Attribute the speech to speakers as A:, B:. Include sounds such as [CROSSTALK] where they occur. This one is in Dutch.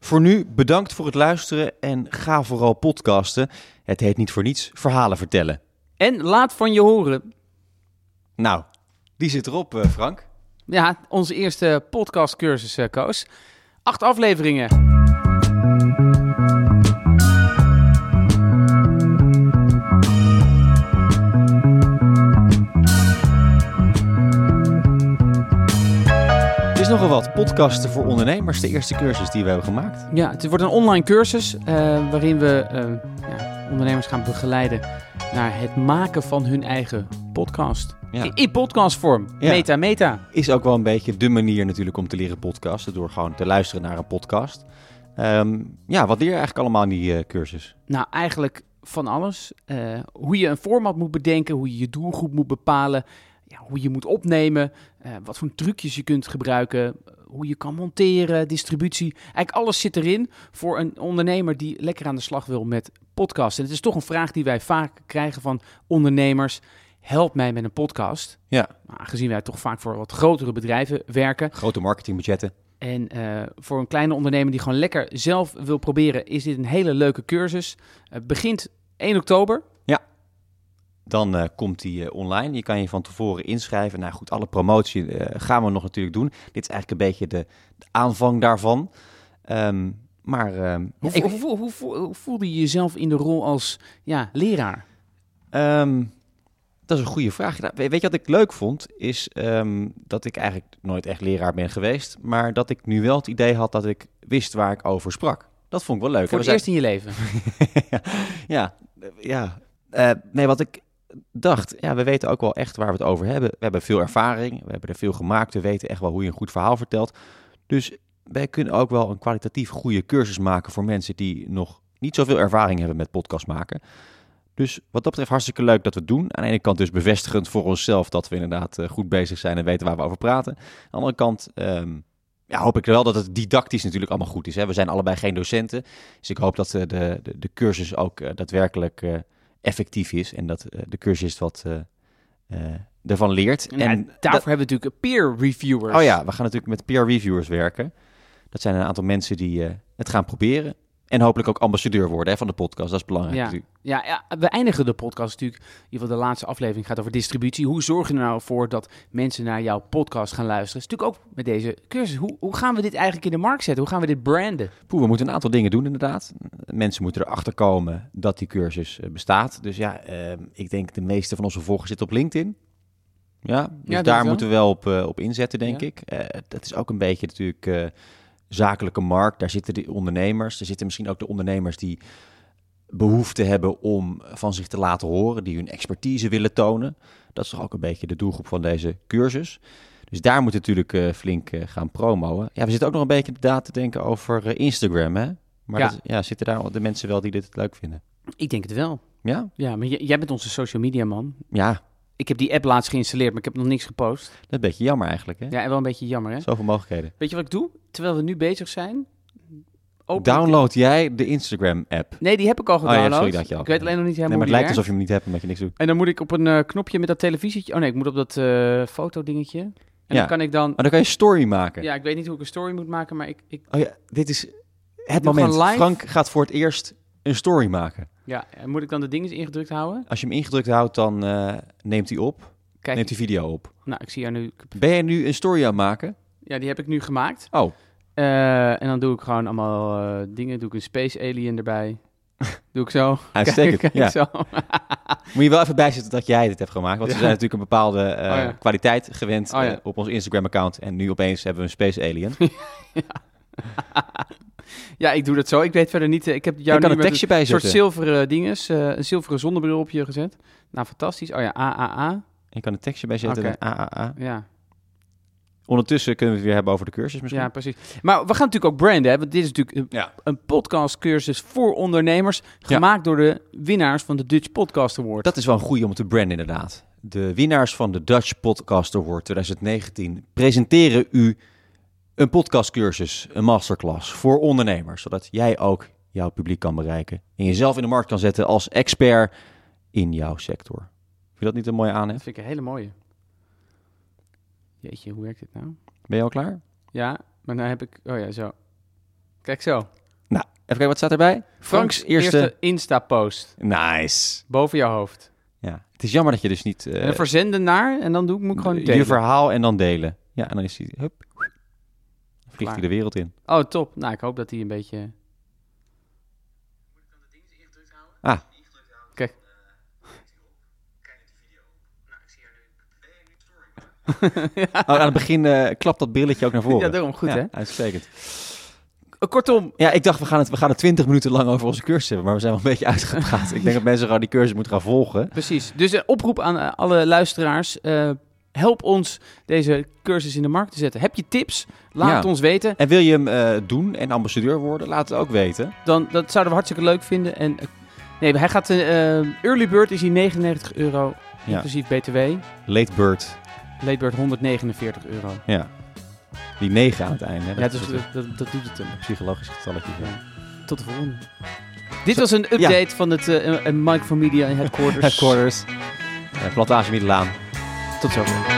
A: Voor nu bedankt voor het luisteren en ga vooral podcasten. Het heet niet voor niets verhalen vertellen.
B: En laat van je horen.
A: Nou, die zit erop, eh, Frank.
B: Ja, onze eerste podcastcursus, eh, Koos. Acht afleveringen.
A: Het is nogal wat podcasten voor ondernemers, de eerste cursus die we hebben gemaakt.
B: Ja, het wordt een online cursus eh, waarin we eh, ja, ondernemers gaan begeleiden naar het maken van hun eigen podcast.
A: Ja.
B: In, in podcastvorm.
A: Ja.
B: Meta, meta.
A: Is ook wel een beetje de manier natuurlijk om te leren podcasten, door gewoon te luisteren naar een podcast. Ehm, ja, wat leer je eigenlijk allemaal in die eh, cursus?
B: Nou, eigenlijk van alles. Eh, hoe je een format moet bedenken, hoe je je doelgroep moet bepalen, ja, hoe je moet opnemen, eh, wat voor trucjes je kunt gebruiken, hoe je kan monteren, distributie. Eigenlijk alles zit erin voor een ondernemer die lekker aan de slag wil met podcasten. En het is toch een vraag die wij vaak krijgen van ondernemers. Help mij met een podcast.
A: Ja.
B: Nou, aangezien wij toch vaak voor wat grotere bedrijven werken.
A: Grote marketingbudgetten.
B: En eh, voor een kleine ondernemer die gewoon lekker zelf wil proberen, is dit een hele leuke cursus. Het begint 1 oktober.
A: Dan eh, komt die eh, online. Je kan je van tevoren inschrijven. Nou goed, alle promotie eh, gaan we nog natuurlijk doen. Dit is eigenlijk een beetje de, de aanvang daarvan. Ehm, maar ehm,
B: Hoe,
A: ik-
B: hoe, hoe, hoe, hoe voelde je jezelf in de rol als ja, leraar?
A: Ehm, dat is een goede vraag. Nou, we- weet je wat ik leuk vond? Is ehm, dat ik eigenlijk nooit echt leraar ben geweest. Maar dat ik nu wel het idee had dat ik wist waar ik over sprak. Dat vond ik wel leuk.
B: voor
A: En
B: het
A: we
B: eerst in je leven.
A: ja, [LAUGHS] ja. eh, ja. Eh, nee, wat ik dacht, ja, we weten ook wel echt waar we het over hebben. We hebben veel ervaring, we hebben er veel gemaakt, we weten echt wel hoe je een goed verhaal vertelt. Dus wij kunnen ook wel een kwalitatief goede cursus maken voor mensen die nog niet zoveel ervaring hebben met podcast maken. Dus wat dat betreft hartstikke leuk dat we het doen. Aan de ene kant dus bevestigend voor onszelf dat we inderdaad eh, goed bezig zijn en weten waar we over praten. Aan de andere kant ehm, ja, hoop ik wel dat het didactisch natuurlijk allemaal goed is. Hè? We zijn allebei geen docenten. Dus ik hoop dat eh, de, de, de cursus ook eh, daadwerkelijk eh, effectief is. En dat eh, de cursist wat eh, eh, ervan leert.
B: En, daarvoor
A: dat-
B: hebben we natuurlijk peer reviewers.
A: Oh ja, we gaan natuurlijk met peer reviewers werken. Dat zijn een aantal mensen die eh, het gaan proberen. En hopelijk ook ambassadeur worden hè, van de podcast. Dat is belangrijk.
B: Ja.
A: natuurlijk.
B: Ja, ja, we eindigen de podcast natuurlijk. In ieder geval de laatste aflevering gaat over distributie. Hoe zorg je er nou voor dat mensen naar jouw podcast gaan luisteren? Dat is natuurlijk ook met deze cursus. Hoe, hoe gaan we dit eigenlijk in de markt zetten? Hoe gaan we dit branden?
A: Poeh, we moeten een aantal dingen doen inderdaad. Mensen moeten erachter komen dat die cursus eh, bestaat. Dus ja, ehm, ik denk de meeste van onze volgers zitten op LinkedIn. Ja, dus
B: denk
A: daar
B: ik wel.
A: moeten we wel op, eh, op inzetten, denk
B: Ja.
A: ik. Eh, dat is ook een beetje natuurlijk eh, zakelijke markt. Daar zitten de ondernemers. Daar zitten misschien ook de ondernemers die behoefte hebben om van zich te laten horen. Die hun expertise willen tonen. Dat is toch ook een beetje de doelgroep van deze cursus. Dus daar moet je natuurlijk eh, flink eh, gaan promoen. Ja, we zitten ook nog een beetje inderdaad te denken over eh, Instagram, hè? Maar
B: Ja.
A: dat is- ja, zitten daar al de mensen wel die dit leuk vinden?
B: Ik denk het wel.
A: Ja,
B: Ja, maar j- jij bent onze social media man.
A: ja,
B: Ik heb die app laatst geïnstalleerd, maar ik heb nog niks gepost.
A: dat is een beetje jammer eigenlijk, hè?
B: Ja, en wel een beetje jammer, hè?
A: Zoveel mogelijkheden.
B: Weet je wat ik doe? Terwijl we nu bezig zijn... open ik-
A: Download jij de Instagram-app?
B: Nee, die heb ik al
A: ja,
B: gedownload.
A: sorry, dat had je al.
B: ik weet alleen nog niet
A: Nee,
B: helemaal
A: maar het lijkt
B: hoe die
A: alsof
B: werkt.
A: je hem niet hebt omdat je niks doet.
B: En dan moet ik op een eh, knopje met dat televisietje... Oh nee, ik moet op dat eh fotodingetje. En
A: Ja. Oh,
B: dan kan ik dan...
A: Maar dan kan je een story maken.
B: Ja, ik weet niet hoe ik een story moet maken, maar ik... ik
A: Oh ja, dit is het
B: Doe
A: moment.
B: gewoon live.
A: Frank gaat voor het eerst een story maken.
B: ja, en moet ik dan de dingetjes ingedrukt houden?
A: Als je hem ingedrukt houdt, dan eh, neemt hij op.
B: Kijk,
A: Neemt hij video op.
B: nou, ik zie jou nu...
A: Ben jij nu een story aan het maken?
B: Ja, die heb ik nu gemaakt.
A: Oh,
B: Eh, en dan doe ik gewoon allemaal eh, dingen. Doe ik een space alien erbij.
A: [LAUGHS]
B: doe ik zo.
A: uitstekend.
B: Kijk,
A: ja.
B: kijk zo.
A: Moet je wel even bijzetten dat jij dit hebt gemaakt. Want we
B: Ja.
A: zijn natuurlijk een bepaalde eh,
B: Oh ja.
A: kwaliteit gewend
B: Oh ja.
A: eh, op ons Instagram-account. En nu opeens hebben we een Space
B: [LAUGHS]
A: Alien.
B: Ja, ik doe dat zo. Ik weet verder niet. eh, Ik heb jou
A: je kan
B: nu
A: een
B: met
A: tekstje bij
B: een soort
A: zetten.
B: zilveren dinges, eh, een zilveren zonnebril op je gezet. Nou, fantastisch. Oh ja, AAA.
A: Je kan een tekstje bij zetten.
B: Oké.
A: met AAA.
B: Ja,
A: Ondertussen kunnen we het weer hebben over de cursus misschien.
B: ja, precies. Maar we gaan natuurlijk ook branden, hè, want dit is natuurlijk een,
A: Ja.
B: een podcastcursus voor ondernemers, gemaakt door de winnaars van de Dutch Podcast Award.
A: Dat is wel een goede om te branden inderdaad. De winnaars van de Dutch Podcast Award 2019 presenteren u een podcastcursus, een masterclass voor ondernemers. Zodat jij ook jouw publiek kan bereiken. En jezelf in de markt kan zetten als expert in jouw sector. Vind je dat niet een mooie aanhef?
B: Dat vind ik een hele mooie. Jeetje, hoe werkt dit nou?
A: Ben je al klaar?
B: Ja, maar nou heb ik... Oh ja, zo. Kijk zo.
A: kijken, wat staat erbij?
B: Frank's eerste, Insta-post
A: Nice.
B: boven jouw hoofd.
A: Ja. Het is jammer dat je dus niet... eh,
B: En dan verzenden naar en dan doe ik moet ik gewoon
A: je
B: delen.
A: verhaal en dan delen. Ja, en dan is hij... Hup, vliegt
B: Klaar.
A: hij de wereld in.
B: Oh, top. Nou, ik hoop dat hij een beetje...
A: Ah,
B: Kijk.
A: oh, aan het begin eh, klapt dat brilletje ook naar voren.
B: Ja, daarom. Goed,
A: Ja,
B: hè?
A: Uitstekend.
B: Eh, Kortom,
A: Ja, ik dacht, we gaan, het, we gaan het 20 minuten lang over onze cursus hebben, maar we zijn wel een beetje uitgepraat. ik denk dat mensen gewoon die cursus moeten gaan volgen.
B: precies. Dus een oproep aan eh, alle luisteraars. eh, help ons deze cursus in de markt te zetten. Heb je tips? Laat
A: Ja.
B: het ons weten.
A: En wil je hem eh, doen en ambassadeur worden? Laat het ook weten.
B: Dan, dat zouden we hartstikke leuk vinden. En, eh, nee, hij gaat... eh early Bird is hier 99 euro,
A: Ja.
B: inclusief BTW.
A: Late Bird.
B: Late Bird 149 euro.
A: Ja. Die 9 aan het einde. hè?
B: Ja,
A: Dat
B: dus
A: is
B: dat, dat, dat doet het hem.
A: een psychologisch getalletje.
B: Ja. Tot de volgende. Dit was een update van het eh, eh, Mike van Media Headquarters.
A: Headquarters. Eh, Plantage Middelaan.
B: Tot zo.